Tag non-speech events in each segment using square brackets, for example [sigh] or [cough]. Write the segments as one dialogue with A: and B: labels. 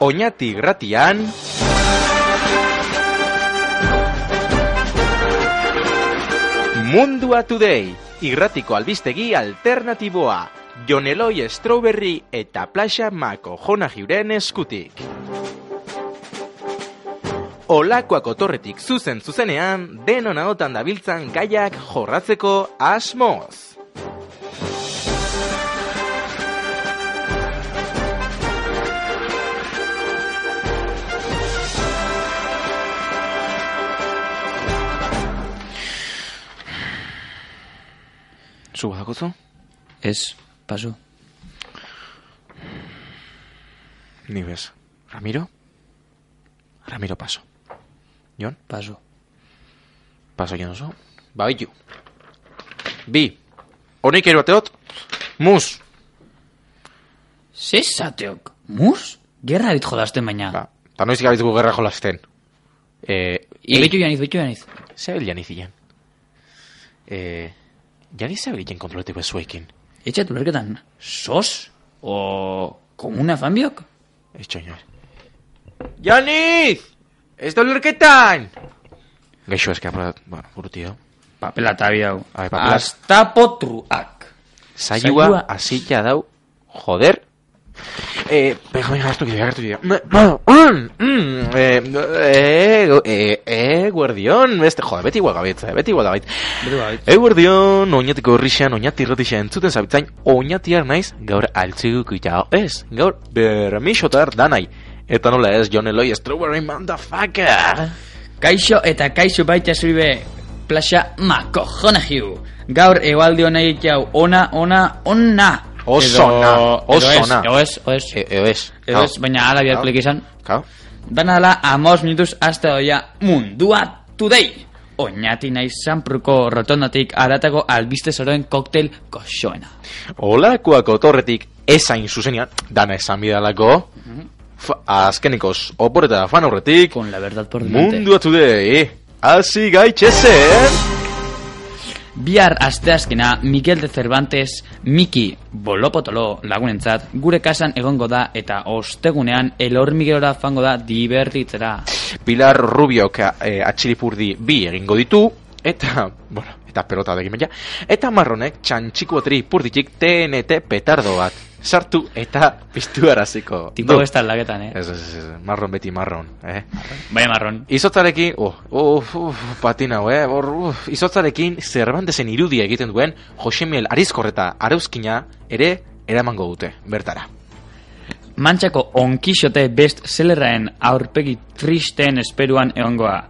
A: Oñati Gratian. Mundua Today, irratiko albistegi alternatiboa, Joneloi Strawberry eta Plaxa Mako jona jiuren eskutik. Olakoak otorretik zuzen zuzenean, denon ahotan dabiltzan gaiak jorratzeko asmoz. Zu jakuzu?
B: Ez, paso.
A: Ni bez. Ramiro? Ramiro paso. Jon?
B: Paso.
A: Paso jon oso. Ba, bitu. Bi. Honik eru ateot. Mus.
B: Ze zateok? Mus? Gerra bit jolasten baina.
A: Ba, ta noiz gabitzeko gerra jolasten. Eh,
B: Ibeitu janiz, beitu janiz.
A: Zebil janiz ilan. Eh, janiz zebil ilan kontroleteko ezuekin.
B: Etxat ulerketan, sos? O komuna fanbiok?
A: Etxo inor. Janiz! Ez da lurketan! Gaixo eske apra, bueno, buruti hau.
B: Papela tabi hau.
A: Ai, papela-
B: Asta potruak.
A: Zaiua
B: Saioa.
A: hasita dau, joder. Eh, venga, venga, hartu kidea, hartu kidea. Mm, mm, mm, eh, eh, eh, eh, guardion, beste, jode, beti igual gabiltza, eh, beti Eh, igual gabiltza. Eguerdion, oinatiko horrixan, oinati irratixan entzuten zabitzain, oinatiar naiz, gaur altziguko itao, ez, gaur bermixotar danai. Eta nola ez, John Eloy, Strawberry Motherfucker!
B: Kaixo eta kaixo baita zuribe plaxa mako jona jiu. Gaur egualdi hona hau ona, ona, ona.
A: Oso
B: Edo-
A: ona, oso
B: edo ez,
A: ona.
B: Edo ez, edo Eh, ez.
A: E, eo ez.
B: Edo ez, baina ala biartulik izan.
A: Kao?
B: Dana dela amos minutuz azte doia mundua today. Oñati nahi zanpruko rotondatik aratago albiste zoroen koktel goxoena.
A: Olakoak otorretik ezain zuzenean, dana esan bidalako, fa, azkenikoz oporeta fan horretik,
B: Con la verdad por delante.
A: mundua today, hasi gaitxezen!
B: Bihar asteazkena Miguel de Cervantes, Miki Bolopotolo lagunentzat gure kasan egongo da eta ostegunean elormigelora fango da dibertitzera.
A: Pilar Rubiok eh, atxilipurdi bi egingo ditu, eta, bueno, eta pelota degin baina, eta marronek txantxiko tri purditik TNT petardo bat, sartu eta piztu araziko.
B: Tipo besta aldaketan, eh?
A: Ez, ez, ez, ez, marron beti marron, eh?
B: Bai marron.
A: Izotzarekin, oh, oh, oh, patina, eh, hor, uf, izotzarekin Cervantesen irudia egiten duen Josemiel Arizkorreta arauzkina ere eramango dute, bertara.
B: Mantxako onkixote best sellerraen aurpegi tristen esperuan egongoa.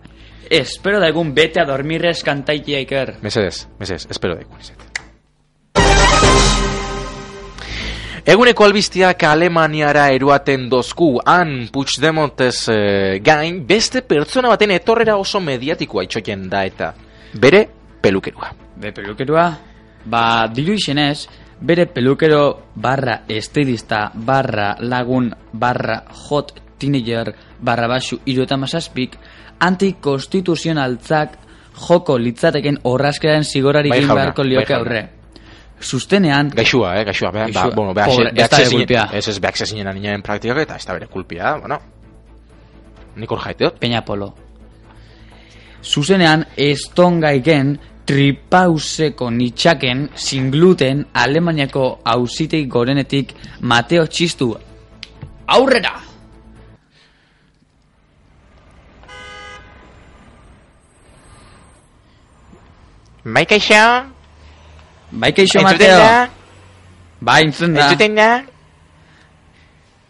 B: Espero da egun bete a dormirrez kantaitia iker.
A: Mesedez, mesedez, espero daikun izet. Eguneko albistiak Alemaniara eruaten dozku, han Puigdemontez eh, gain, beste pertsona baten etorrera oso mediatikoa itxoten da eta bere pelukerua.
B: Be pelukerua, ba, diru izenez, bere pelukero barra estilista barra lagun barra hot teenager barra basu irueta mazazpik antikonstituzionaltzak joko litzateken horrazkeraren zigorari
A: Bai,
B: egin
A: jauna,
B: beharko
A: bai,
B: lioke
A: jauna.
B: aurre. Sustenean,
A: Gaixua, eh, gaixua, bea,
B: Gaixua.
A: ba, bueno, bea,
B: Pobre,
A: xe- bea,
B: ez
A: xe
B: da bere
A: zinen-
B: kulpea.
A: ez ez beak xe zinen aninen praktikak eta ez da bere kulpia, bueno. Nik hor jaiteot.
B: Peña Polo. Zuzenean estongaiken tripauseko nitxaken singluten Alemaniako auzitei gorenetik Mateo Txistu aurrera!
A: Bai, kaixo,
B: Bai kaixo Mateo! Bai, entzun da!
A: da,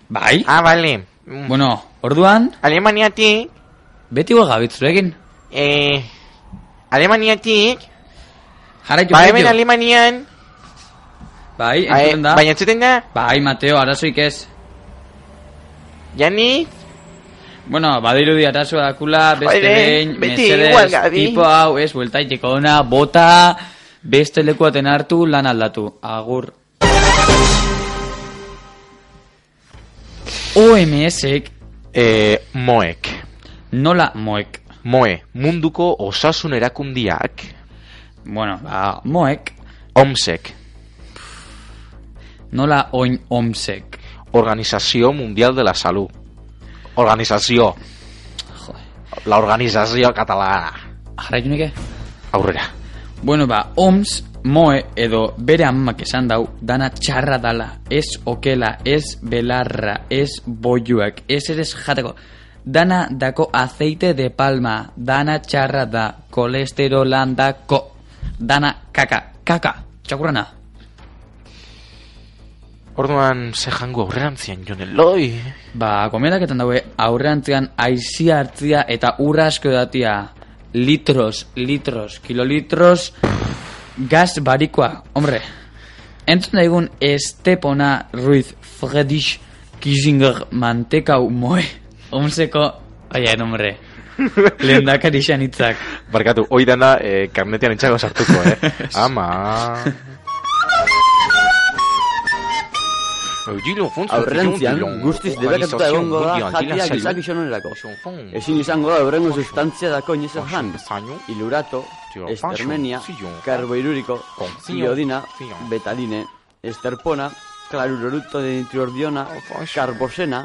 B: Bai?
A: ah, bale.
B: Bueno, orduan,
A: Alemaniatik,
B: beti huel gabitzurekin.
A: eh, Alemaniatik,
B: Jarraitu,
A: ba hemen
B: jarraitu.
A: Alemanian,
B: Bai,
A: ae-
B: entzun da.
A: baina entzuten da,
B: Bai, Mateo, arazoik ez.
A: jani,
B: Bueno, badirudi arazoa dakula, beste
A: Joder,
B: behin,
A: Bai, beti
B: mesedez,
A: igual gabi.
B: tipo hau, ez, bueltaiteko ona, bota, beste lekuaten hartu, lan aldatu. Agur. OMS-ek
A: eh, moek,
B: nola moek.
A: moe, munduko osasun erakundiak,
B: Bueno, ba, moek
A: omsek,
B: nola oin omsek.
A: Organización Mundial de la Salud. Organizazio.
B: Jode.
A: La organizazio katalana.
B: Jarraitu nike?
A: Aurrera.
B: Bueno, ba, OMS, moe edo bere amak esan dau, dana txarra dala, ez okela, ez belarra, ez boiuak, ez eres jateko. Dana dako aceite de palma, dana txarra da, kolesterolan dako, dana kaka, kaka, txakurrana.
A: Orduan, ze jango aurrerantzian, Jon Eloi.
B: Ba, komendaketan daue, aurreantzean aizia hartzia eta urra asko datia. Litros, litros, kilolitros, gaz barikoa, hombre. Entzun daigun Estepona Ruiz Friedrich Kissinger mantekau moe. Omseko, aia, hombre. Lehendakari izan hitzak.
A: Barkatu, hoi dana eh, karnetean entxago sartuko, [laughs] eh? [laughs] Ama... Eugilio Fonso,
C: Aurrerantzian,
A: Eugilio Fonso,
C: guztiz debekatuta
A: organizazio
C: egongo da
A: mundial,
C: jakia
A: antilazaio,
C: gizak isonerako.
A: Eugilio Fonso,
C: Ezin izango da horrengo sustantzia dako inoiz
A: Oso,
C: jan.
A: zaino.
C: Ilurato,
A: Tio,
C: estermenia,
A: paso, zio.
C: karboiruriko,
A: Kontzio,
C: iodina,
A: zio.
C: betaline, esterpona, klaruroruto de nitriordiona,
A: paso.
C: karbosena,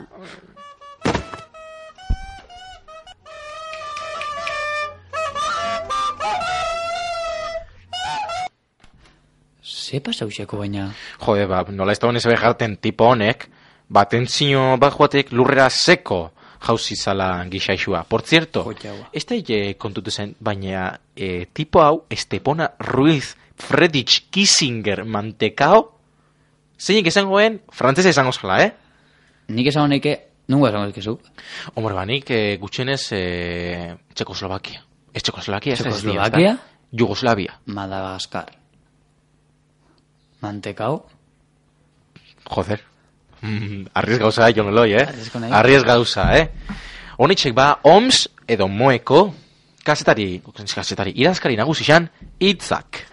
B: Ze pasauseko baina?
A: Jode, ba, nola ez dagoen ez beharten tipo honek, ba, tentzio bat joatek lurrera seko jauzi zala gixaixua. Por cierto,
B: Jotaua.
A: ez da hile kontutu zen, baina e, tipo hau, Estepona Ruiz Fredich Kissinger mantekao, zeinik izangoen, frantzesa izango zela, eh?
B: Nik esan honeke, nungo esan ezkezu?
A: Hombre, ba, nik e, gutxenez e, Txekoslovakia. Ez Txekoslovakia, ez da, ez dira, ez da.
B: Txekoslovakia?
A: Jugoslavia.
B: Madagaskar. Mantekau?
A: Joder. Mm, arriesga gauza, Jon Eloi, eh?
B: Arriesgo nahi.
A: Arriesga gauza, eh? Honitxek ba, OMS edo moeko kazetari, kazetari irazkari nagusi xan, hitzak.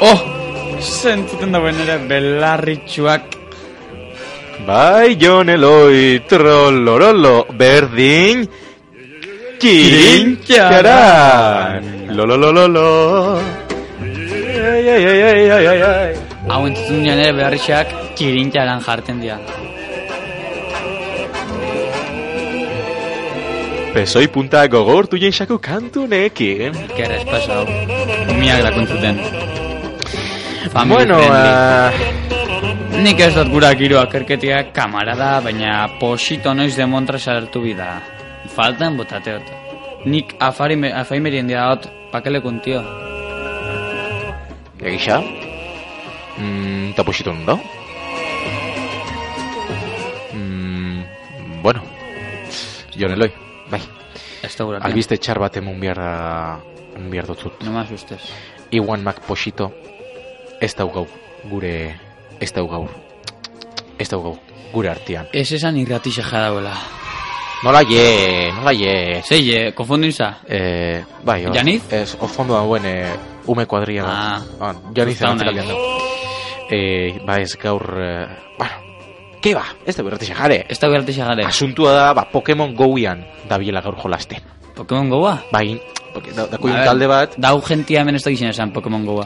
B: Oh, sentuten dauen ere belarritxuak
A: Bai, Jon Eloi, trollorolo, berdin, kirintxaran, lololololo. Ai, ai, ai, ai, ai, ai, ai.
B: Hau entzuten dian ere belarritxuak kirintxaran jarten dira
A: Pesoi punta gogortu jaisako kantu honekin.
B: Ikerra espasau Umiak lakuntzuten Family
A: Bueno,
B: friendly.
A: ah,
B: Nik ez dut gura giro akerketia kamara da Baina posito noiz demontra sartu bida Faltan botateot Nik afari, afaimerien dira hot Pakelekun tio
A: Egisa? Mm, tapuxito ondo? Mm, bueno. Jon Eloi, bai.
B: Ez da gura
A: Albiste txar bat emun behar da... Emun behar dotzut.
B: No mas ustez
A: Iwan mak posito ez dau gau. Gure... Ez dau gaur. Ez dau gau. Gure artean.
B: Ez esan irratixe jadauela
A: Nola ye, nola ye.
B: Zeie, konfondin za
A: Eh, bai, hor.
B: Janiz?
A: Ez, o fondo dagoen eh, ume kuadria.
B: Ah.
A: ah Janiz
B: Gustauna.
A: anatzekaldean da. Eh, ba ez gaur... Eh, bueno, ke ba, ez da berretxe jare.
B: Ez da gertixe gare
A: Asuntua da, ba, Pokemon Goian dabiela gaur jolasten.
B: Pokemon Goa?
A: Bai, porque da, dako
B: A
A: un
B: ver,
A: talde bat,
B: Dau gentia hemen ez da gizien esan Pokemon Goa.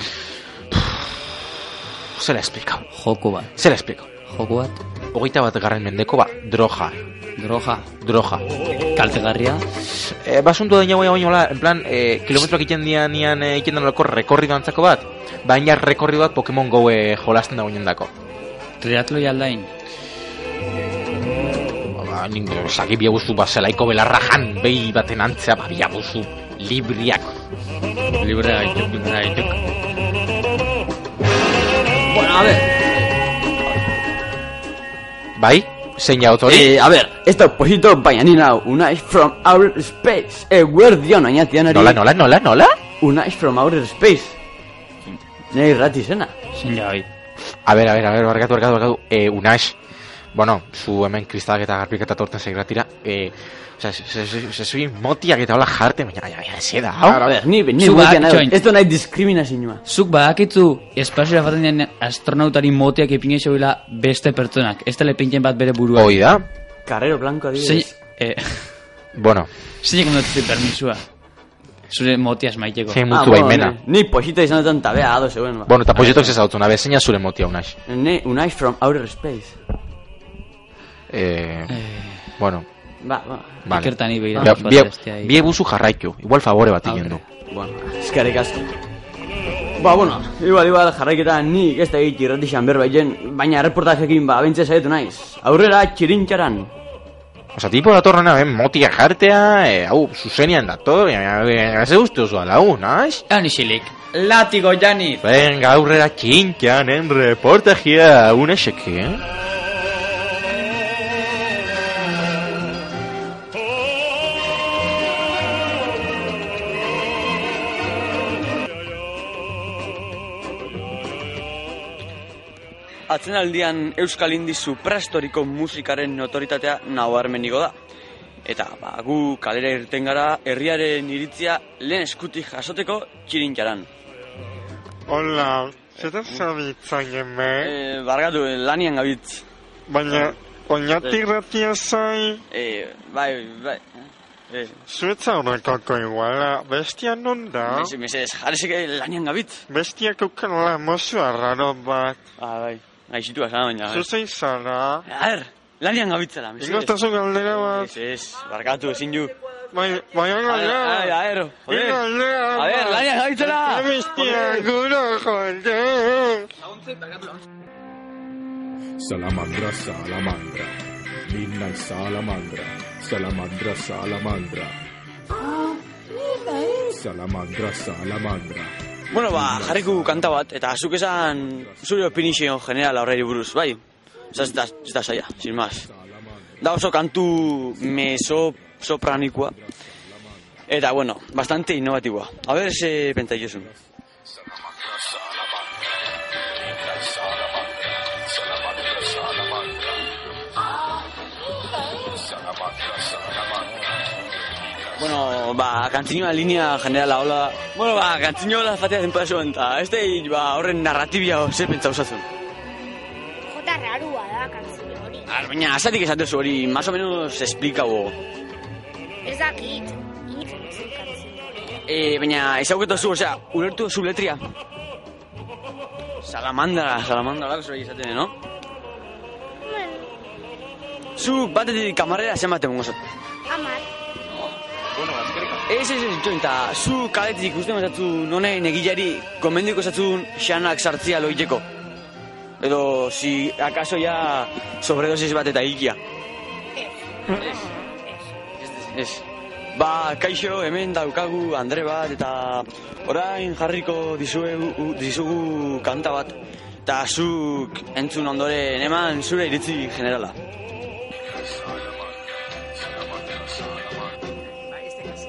A: zera esplikau.
B: Joko bat.
A: Zera esplikau.
B: Joko bat.
A: Hogeita bat garren mendeko, ba, droja.
B: Droga.
A: Droja.
B: Kaltegarria.
A: Eh, ba, asuntua da inagoia baino, hola, en plan, eh, kilometroak iten dian, nian, eh, iten danolako rekorrido antzako bat. Baina rekorri bat Pokemon Go eh, jolasten da goinen dako.
B: Triatloi aldain.
A: Ba, ningo, saki biaguzu baselaiko belarrajan, behi baten antzea, ba, biaguzu libriak.
B: Libre gaituk, libre gaituk. Bueno, a ver.
A: Bai? Zein jaut hori?
C: Eh, a ver, ez da posito baina ni nau, Unai from outer space, E, eguerdion oinatian ari.
A: nola, nola, nola, nola?
C: Unai from outer space. Nei irrati zena.
B: Zein ja hoi.
A: A ber, a ber, a ber, barkatu, barkatu, barkatu. Eh, Unax, bueno, zu hemen kristalak eta garbik eta torten segratira, e, osea, zesui motiak eta hola jarte, baina, ai, ai, ze da, hau?
C: Ara, ber, ni, ni
B: Zu
C: mutia
B: bak,
C: nahi,
B: join.
C: ez du nahi diskriminazioa.
B: Zuk badakitzu, espazioa jaten den astronautari motiak ipine zeuela beste pertsonak. Ez tele pinten bat bere burua.
A: Hoi da?
C: Carrero Blanco
B: Zein,
C: adibidez.
B: eh, [laughs]
A: Bueno,
B: zeinek ematu zuen permisua? Zure motiaz maiteko.
A: zein
C: Ah,
A: mutu
C: bueno,
A: baimena.
C: ni- Ni poxita izan duten tabea ado zegoen. ba.
A: Bueno, eta poietok zezautuna, be, zeina zure motia unaix.
C: Ni Unai from Outer Space.
A: Eh, bueno,
C: Ba, ba.
A: vale.
B: Ikertani begira,
A: Ja,
B: bat
A: bie-
B: bestea,
A: bie buzu jarraitu, igual favore bat egin du.
C: Bueno, eskerrik asko. Ba, bueno, igual, igual, jarraiketa nik ez da egit irratixan berbaien, baina erreportajekin ba, bentsa saietu naiz. Aurrera, txirintxaran.
A: Osa, tipo datorrena, ben, motia jartea, eh, hau, zuzenian dator, baina, baina, ze uste oso alau, naiz?
B: Ani xilik. Latigo, Jani!
A: Venga, aurrera eh, kinkian, en reportajia, unaxeke, eh?
D: Atzenaldian Euskal Indi suprastoriko musikaren notoritatea nabarmeniko da. Eta ba, gu kalera irten gara herriaren iritzia lehen eskutik jasoteko txirintxaran.
E: Hola, zetan zabiltzaien
C: Eh?
E: me?
D: E, bargatu, lanian gabiltz.
E: Baina, oinati gratia zai,
D: E, bai, bai. E,
E: zuetza horrekako iguala, bestia non da?
D: Mese, mese, jarrezek eh, lanian gabiltz.
E: Bestiak eukala mozu arraro bat,
D: Ah, bai. Aizitu azana baina. bai.
E: zuzein zara?
D: Ar, lanian gabiltzela, mese.
E: Ingostazu galdera
D: Ez,
E: bat,
D: ez, barkatu, ezin ju.
E: bai- baina
D: Ah, Ai,
E: galdera
D: aero,
E: bat,
D: joder.
E: galdera bat.
D: A ver, lanian gabiltzela!
E: Eta Bestia gura joder!
F: Salamandra, salamandra. Midnight salamandra. Salamandra, salamandra. Salamandra, salamandra.
D: Bueno, ba, jarriku kanta bat, eta zuk esan zure opinion general aurreri buruz, bai? Zaz, ez da, ez da saia, sin más. Da oso kantu meso sopranikoa. Eta, bueno, bastante innovatiboa. A ber, ze penta ikiozun. Bueno, ba, kantzinoa linea generala hola... Bueno, ba, kantzinoa hola fatea denpora zuen, eta ez da, ba, horren narratibia ze pentsa usazun.
G: Jota rarua da kantzio hori.
D: Ar, baina, azatik esatezu hori, más o menos esplikabo.
G: Ez dakit, nik zen kantzio hori.
D: E, baina, ezagutu zu, osea, ulertu zu letria. Salamandra, salamandra, lako zure izaten, eh, no?
G: Bueno,
D: Zu batetik kamarrera zenbat emongo zat.
G: amar,
D: Ez, ez, ez, join, eta zu kaletik uste mazatzu nonen egilari gomendiko zatzun xanak sartzia loiteko. Edo, si akaso ja sobredosis bat eta hilkia. Ez, ba, kaixo hemen daukagu Andre bat eta orain jarriko dizuegu, dizugu kanta bat. Eta zuk entzun ondoren eman zure iritzi generala.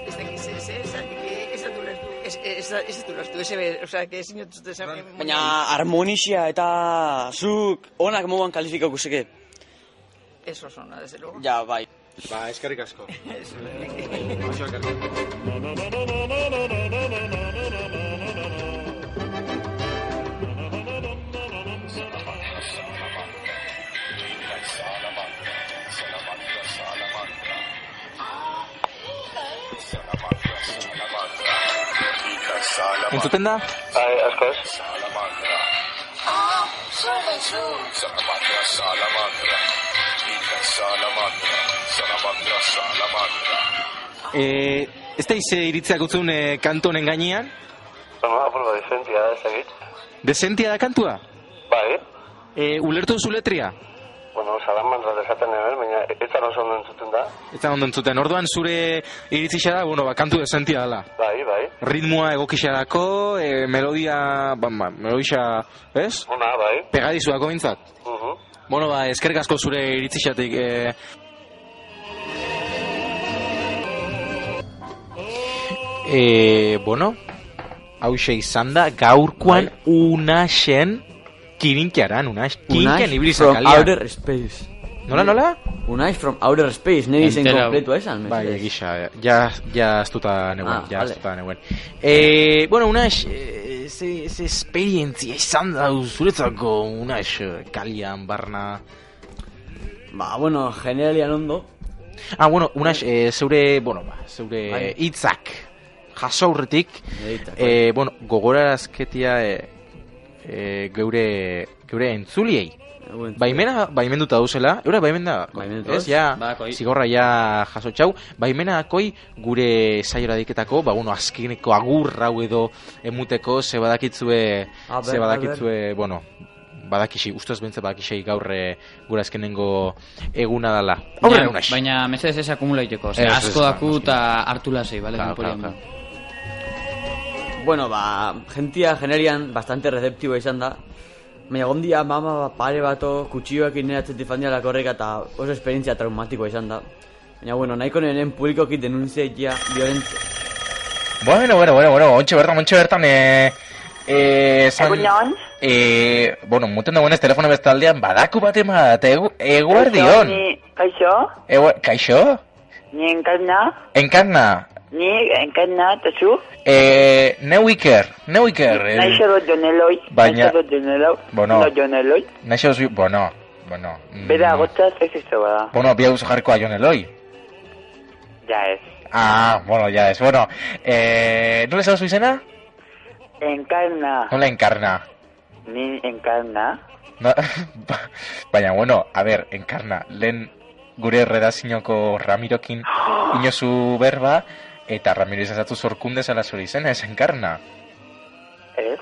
H: Ez dakit ze- ze esan, eh, ez dut ulertu. Ez- ez- ez dut ulertu, ez ebe, osea, que ezin dut esan, eh,
D: Baina harmonixia eta zuk onak moban kalifikako zeke.
H: ez oso ona, desde luego.
D: Ja, bai.
I: Ba, eskerrik asko.
A: Entzuten da?
I: E, ez da ize iritziak utzun e, kantu honen gainean?
J: Zama, apurba dezentia, ez dakit.
I: Desentia da kantua?
J: eh, Bai,
I: E, ulertu duzu letria?
J: bueno, salamandra desaten hemen, baina ez zara oso ondo entzuten da.
I: Ez da ondo entzuten, orduan zure iritzixa da, bueno, ba, kantu desentia dela.
J: Bai, bai.
I: Ritmoa egokixarako, e, melodia, ba, ba, melodia, ez?
J: Ona, bai.
I: Pegadizuako bintzat.
J: Uhu.
I: Bueno, ba, eskerrik asko zure iritzixatik. E,
A: E, bueno, hause izan da, gaurkoan
I: Bai.
A: unaxen, kirinkiaran, unax,
C: Unai
A: kinkian ibiliz
C: from
A: kalian.
C: Outer Space.
A: Nola, nola?
K: Unai from Outer Space, nire izen
A: Entera-
K: kompletua esan,
A: Bai,
K: mesedez.
A: egisa, ja, ja astuta neuen,
K: Ah,
A: ja
K: vale.
A: astuta neuen. Eh, bueno, Unax, eh, ze, ze esperientzia izan da zuretzako, Unax, eh, kalian, barna...
K: Ba, bueno, generalian ondo.
A: Ah, bueno, Unax, eh, zeure, bueno, ba, zeure
K: Bai.
A: hitzak jaso aurretik,
K: Nire hitzak,
A: eh, bueno, gogorarazketia eh, eh, geure, geure entzuliei.
I: Eh,
K: Bueno,
A: Baimena baimenduta dauzela, eura baimenda,
K: Baimenduta dauz?
A: ez, ja,
B: Badakoi.
A: zigorra ja jaso txau, baimena akoi gure saiora diketako, ba, bueno, azkeneko agur hau edo emuteko, ze badakitzue,
K: A ber,
A: ze badakitzue, bueno, badakixi, ustez bentze badakixei gaur eh, gure azkenengo eguna dala. Aurrera,
B: Ja,
A: unax!
B: Baina, mesedez ez akumula iteko.
A: Ez, ez,
B: asko
A: ez,
B: daku
A: noski.
B: eta hartu lasei, bale?
A: Claro,
B: Denbora
A: claro,
B: ondo.
K: Bueno, ba, gentia generian bastante receptiboa izan da. Baina gondia mama ba, pare bato kutsioak nire atzetik fandia korreka eta oso esperientzia traumatikoa izan da. Baina, bueno, nahiko nenen publikoki denuntzia egia violent...
A: Bueno, bueno, bueno, bueno, ontxe bertan, ontxe bertan, eh... Eh, san,
D: Egunon.
A: eh, bueno, muten dagoenez telefono bestaldean, badaku bat emat, egu,
D: Kaixo,
A: eguardion.
D: ni- Kaixo,
A: Eguer, kaixo?
D: ni enkarna,
A: Enkarna,
D: ni enkarna, eta zu?
A: Eh, neu iker, neu iker. eh,
D: Naiz edo joneloi,
A: Baina-
D: naiz edo joneloi,
A: Bueno.
D: no joneloi.
A: Naixo zu, bueno, bueno. mm,
D: Bera, gotza sexisto bada.
A: Bueno, bia uzu jarrikoa jon eloi.
D: Ja ez.
A: Ah, bueno, ya es, bueno. Eh, nola esan zu izena?
D: Enkarna,
A: Nola enkarna.
D: ni
A: [gasps]
D: enkarna.
A: No, [laughs] baina, bueno, a ver, enkarna. Lehen gure redazinoko Ramirokin inozu berba, eta Ramiro izan zatu zorkunde zala zure izena, ez enkarna.
D: Ez,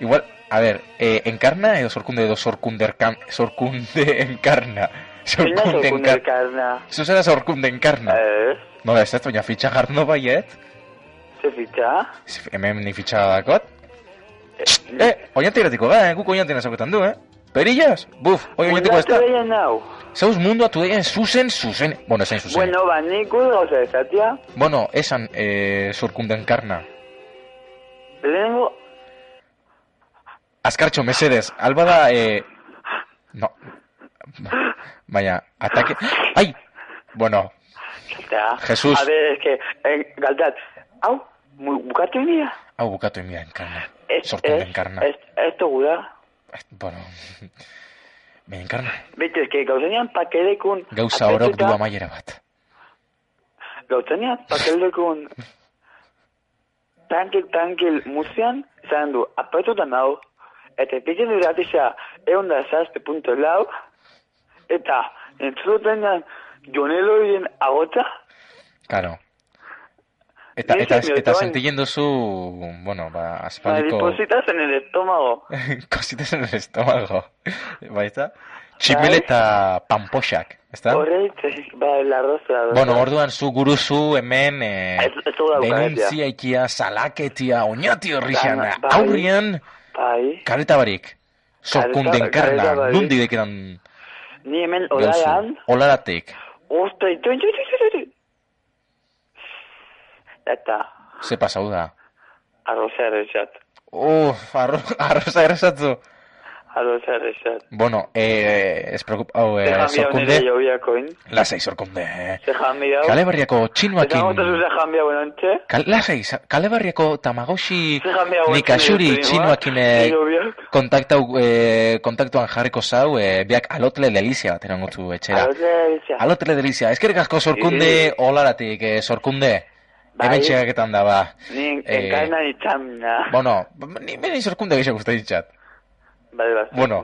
A: Igual, a ver, eh, enkarna edo zorkunde edo zorkunderkan, zorkunde [laughs] enkarna.
D: ez nahiz
A: Zorkunde
D: egun
A: enkarna. Eh.
D: enkarna.
A: Zuzera zorkunde enkarna.
D: Ez,
A: Nola ez dut, baina fitxa jarno baiet.
D: ze fitxa.
A: Ez- Hemen ni fitxa dakot. Eh, oinate iratiko gara, eh? guk oinate nazakotan du, eh? Perillas? Buf, oi oinateko ez da.
D: Mundatu deia nau.
A: Zeus mundua tu deien zuzen, zuzen. Bueno, esan zuzen.
D: Bueno, ba, nik gauza ezatia.
A: Bueno, esan eh, zorkunde enkarna.
D: Lehenengo,
A: Azkartxo, mesedes, alba da, eh... No. Baina, ataque... Ai! Bueno,
D: eta...
A: Jesus.
D: A ver, es que, en, galdat, hau, mu- bukatu nia.
A: hau bukatu emia enkarna.
D: Ez,
A: Zorkunde
D: ez,
A: enkarna.
D: ez, ez dugu da.
A: Bueno, baina enkarna.
D: Bete, eske gauzenean pakelekun...
A: Gauza horok du amaiera bat.
D: Gauzenean pakelekun... tankil, tankil, muzian, zan du, apetutan hau. Eta pizien du ratisa, egon da zazte punto lau. Eta, entzuten jan, joneloien agotza.
A: Claro. Eta,
D: Ni
A: eta,
D: ezin
A: eta
D: diotoan.
A: sentien duzu, bueno, ba, aspaldiko... [laughs]
D: Maripositas en el estómago.
A: Cositas en el estómago. Baita? Tximel
D: Bai.
A: eta pampoxak, ezta?
D: Horreitze, ba, lardozu, lardozu.
A: Bueno, orduan zu guruzu hemen eh,
D: Ez- ez dugu dauka,
A: denuntzia ikia, salaketia, oñati horrixan,
D: Dana, bai.
A: aurrian,
D: Bai,
A: kareta barik,
D: Kareta- kareta
A: sorkundenkarna,
D: barik.
A: nundi deketan
D: ni hemen
A: gauzu,
D: olaian,
A: olaratek,
D: ostra, itu, itu, itu, itu, itu. Eta,
A: ze pasau da.
D: arroza errexat.
A: Uf, arro, [laughs] arroza errezatzu.
D: Arroza errexat.
A: Bueno, eh, ez preocup... Hau,
D: Ze
A: eh,
D: jambia honera
A: sorkunde...
D: jobiakoin.
A: Lasai, sorkunde, eh.
D: Ze jambia hau.
A: Kale berriako
D: Eta
A: txinuakin...
D: gotazu ze jambia huen ontxe.
A: Kal, lasai, sa- kale berriako tamagoshi
D: Ze jambia huen
A: nikasuri txinuakin eh,
D: jobiak.
A: kontaktau, eh, kontaktuan jarriko zau, eh, biak alotle delizia bat erango zu etxera.
D: Arroza errexat.
A: Alotle delizia, eskerrik asko
D: Sí,
A: sorkunde olaratik, eh, sorkunde.
D: Bai.
A: Hemen txegaketan da, ba.
D: Ni
A: Eh,
D: enkarna nitzamna.
A: Bueno, ni, ni sorkunde gehiago guztai ditxat.
D: Bale, bat.
A: Bueno,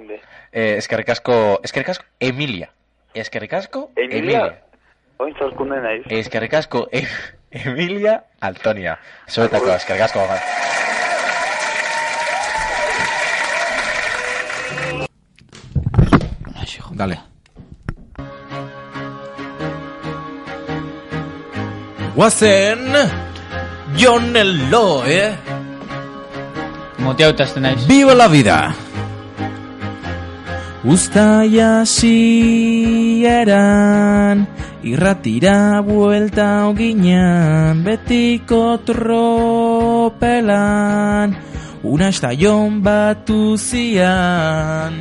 A: eh, eskerrik asko, eskerrik asko, Emilia. Eskerrik asko, Emilia.
D: Emilia. Oin zorkunde naiz.
A: Eskerrik asko, Em- Emilia Antonia. Zuetako, eskerrik asko.
F: Dale.
A: Guazen, John Eloe,
B: Moteauta azten naiz.
F: Viva la vida. Uztaia zieran, irratira buelta oginan, betiko tropelan, una estallon batu zian.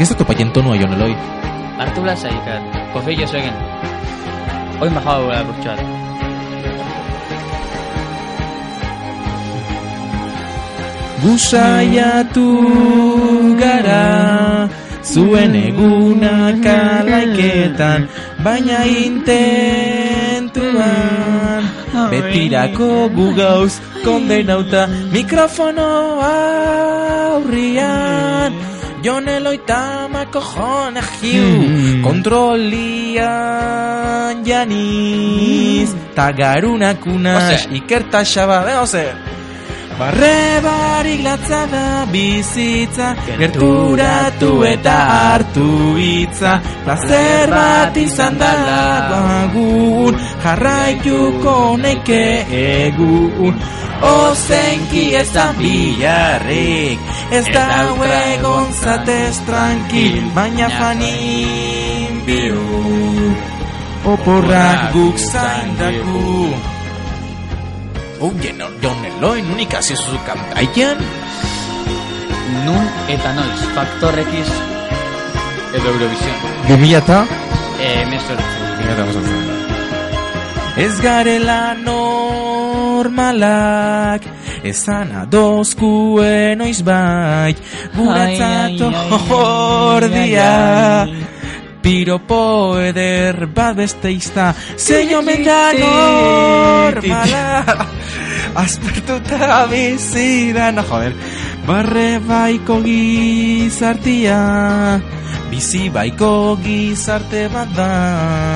F: ez da topaien tonua joan eloi.
B: Artu lasai, kat. Kofi jo egin. Oin bajaba gura burtsu bat.
F: Gusaiatu gara zuen egunak alaiketan, baina intentuan betirako gu gauz kondenauta mikrofono aurrian Jon Eloita makojone jiu kontrolian janiz ta garunak unas ikerta xaba behoze Barrebarik latza da bizitza Gerturatu eta hartu hitza Plazer bat izan da lagun Jarraituko neike egun Ozenki ez da bilarrik Ez da egon zatez tranquil Baina fanin biu Oporrak guk zaindaku Oye, no, John Eloy, nunik hasi zu kantaian.
B: Nun eta noiz, Factor X edo Eurovision.
F: 2000 eta
B: Eh, mesortzi.
F: Ez garela normalak Ezan adozkue noiz bai Guretzat
B: oh,
F: ordia Piropo eder bat beste izta Zeio menda [laughs] normala Azpertuta bizira No joder Barre baiko gizartia Bizi baiko gizarte bat da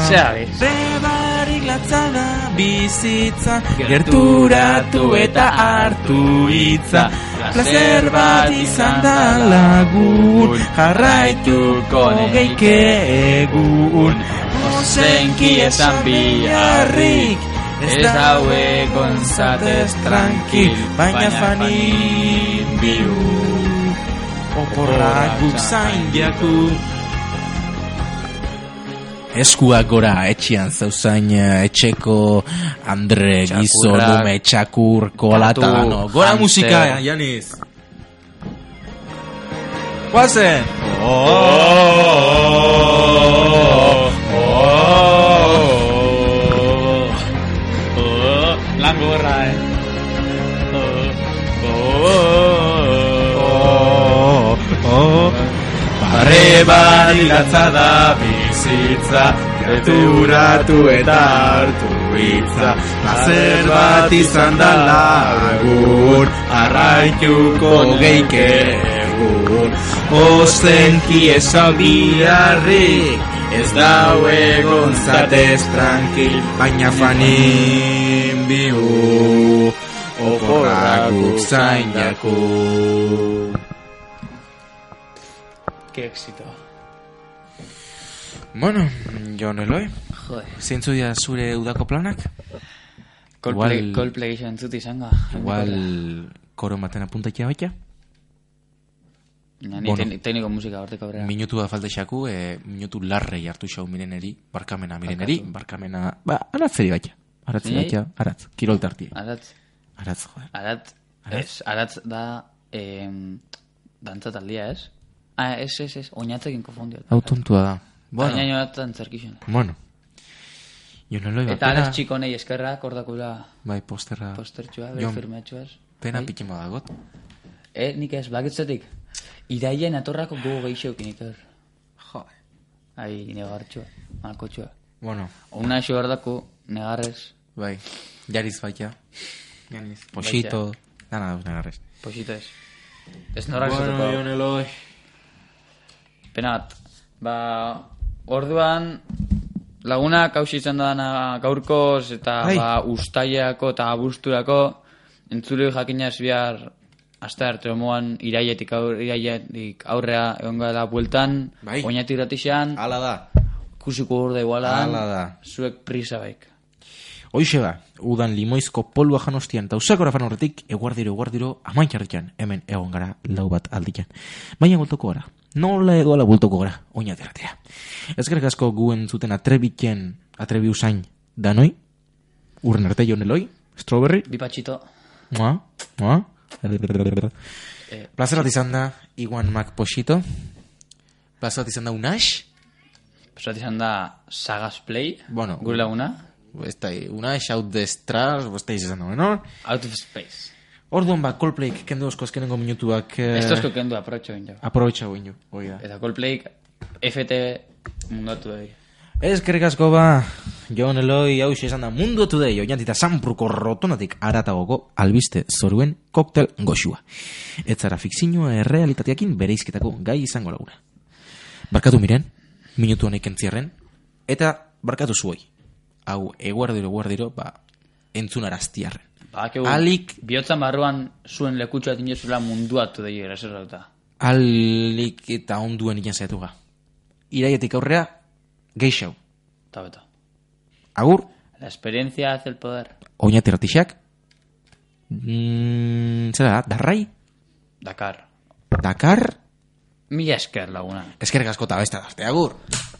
B: Xabi.
F: Rebarik latza da bizitza Gerturatu eta hartu hitza Plazer bat izan da lagun Jarraituko geike egun Ozenki esan biharrik Ez daue gonzatez tranquil Baina fanin biu Oporrak guk zain diaku Eskuak gora etxean zauzain eh, etxeko Andre Gizo
A: Txakurrak.
F: Lume Txakur Kolata
A: Katu,
F: dano Gora
A: hamster.
F: musika, Janiz Guazen
B: Lan gorra, eh.
F: Barre badilatza da bizitza Gerturatu eta hartu hitza Plazer bat izan da lagun Arraituko geike egun Ozenki esan biharrik Ez dau egon zatez tranquil Baina fanin bihu Oporrak guk zain daku
B: Qué éxito.
F: Bueno, Jon Eloi.
B: Joder.
F: Zeintzu dira zure udako planak?
B: Coldplay,
F: Igual-
B: Coldplay gixo entzut izango.
F: Igual koro maten apuntatia baita.
B: Na, ni
F: Bueno.
B: bueno. tekniko musika horteko aurrera.
F: Minutu da falta xaku, e, minutu larrei hartu xau mireneri, barkamena mireneri, barkamena... Ba, aratzeri baita. Aratzeri
B: Ni?
F: baita, aratz, kirol tartia.
B: Aratz.
F: Aratz, joder.
B: Aratz. Ez, aratz da... Eh, dantza taldia, ez? Ah, ez, ez, ez. Oinatzekin konfundio.
F: Hau tontua da. Bueno.
B: Baina joatzen zerkixen.
F: Bueno. Jon Eloi,
B: Eta
F: bakera,
B: Alex Txikonei eskerrak ordakula
F: bai posterra...
B: postertxua, bere
F: Jon,
B: firmetxuaz.
F: Pena
B: Bai.
F: pikin badagot.
B: Eh, nik ez, bakitzetik. Iraien atorrako gogo geixeukin itor.
F: Jo.
B: Ai, negartxua, malkotxua.
F: Bueno.
B: Una eixo ordako, negarrez.
F: Bai, jariz baita.
B: Janiz.
F: Posito, dana dauz negarrez.
B: Posito ez. Ez norra
F: Bueno, Jon
B: eloi. Pena bat. Ba, orduan laguna kausi izan da dana gaurkoz eta
F: Ai.
B: ba, ustaiako eta abusturako entzulei jakinaz bihar aste arte homoan irailetik aur, irailetik aurrea egongo dela bueltan,
F: Bai.
B: oinati gratixan.
F: Hala da.
B: Kusiko urde iguala.
F: Hala da.
B: Zuek prisa baik.
F: Hoxe ba, udan limoizko polua janostian eta usakora fan horretik, eguardiro, eguardiro, amain jarretxan, hemen egon gara, lau bat alditan. Baina bultoko gara, nola edo ala bultoko gara, oinatera. Ezkerrik asko guen zuten atrebiken, atrebi usain, danoi, urren arte jon eloi, strawberry,
B: Bipatxito.
F: moa, moa, Eh, plazer bat izan da, iguan mak posito, Plaza bat izan da Unash.
B: Pesat izan da Sagas Play,
F: Bueno.
B: gure laguna,
F: Besta, Unash, Out the Stars, besta izan da, no?
B: Out of Space.
F: Orduan ba, Coldplayk kendu osko azkenengo minutuak... Eh, Ah.
B: Esto esko kendu aprotxo egin jau.
F: Aprobetxa guindu, hoi da.
B: Eta Coldplay FT mundatu dugu.
F: Ezkerrik asko ba, Jon Eloi hau izan da mundu today, oinatita zanpruko rotonatik aratagoko albiste zoruen koktel goxua. Ez zara fikzinoa errealitateakin bere izketako gai izango laguna. Barkatu miren, minutu honek entzierren, eta barkatu zuoi. Hau, eguardiro, eguardiro, ba, entzunaraztiarren.
B: Bakeu,
F: Alik-
B: bihotzan barruan zuen lekutxoa dinozula munduatu dugu, eraser dauta.
F: Alik eta onduen ikan zaitu ga. Iraietik aurrea, geixau.
B: Eta beto.
F: Agur,
B: La experiencia hace el poder.
F: oinat irratixak, mm, zera da, darrai,
B: Dakar.
F: Dakar,
B: Mila esker laguna.
F: eskerrik asko eta beste arte, agur!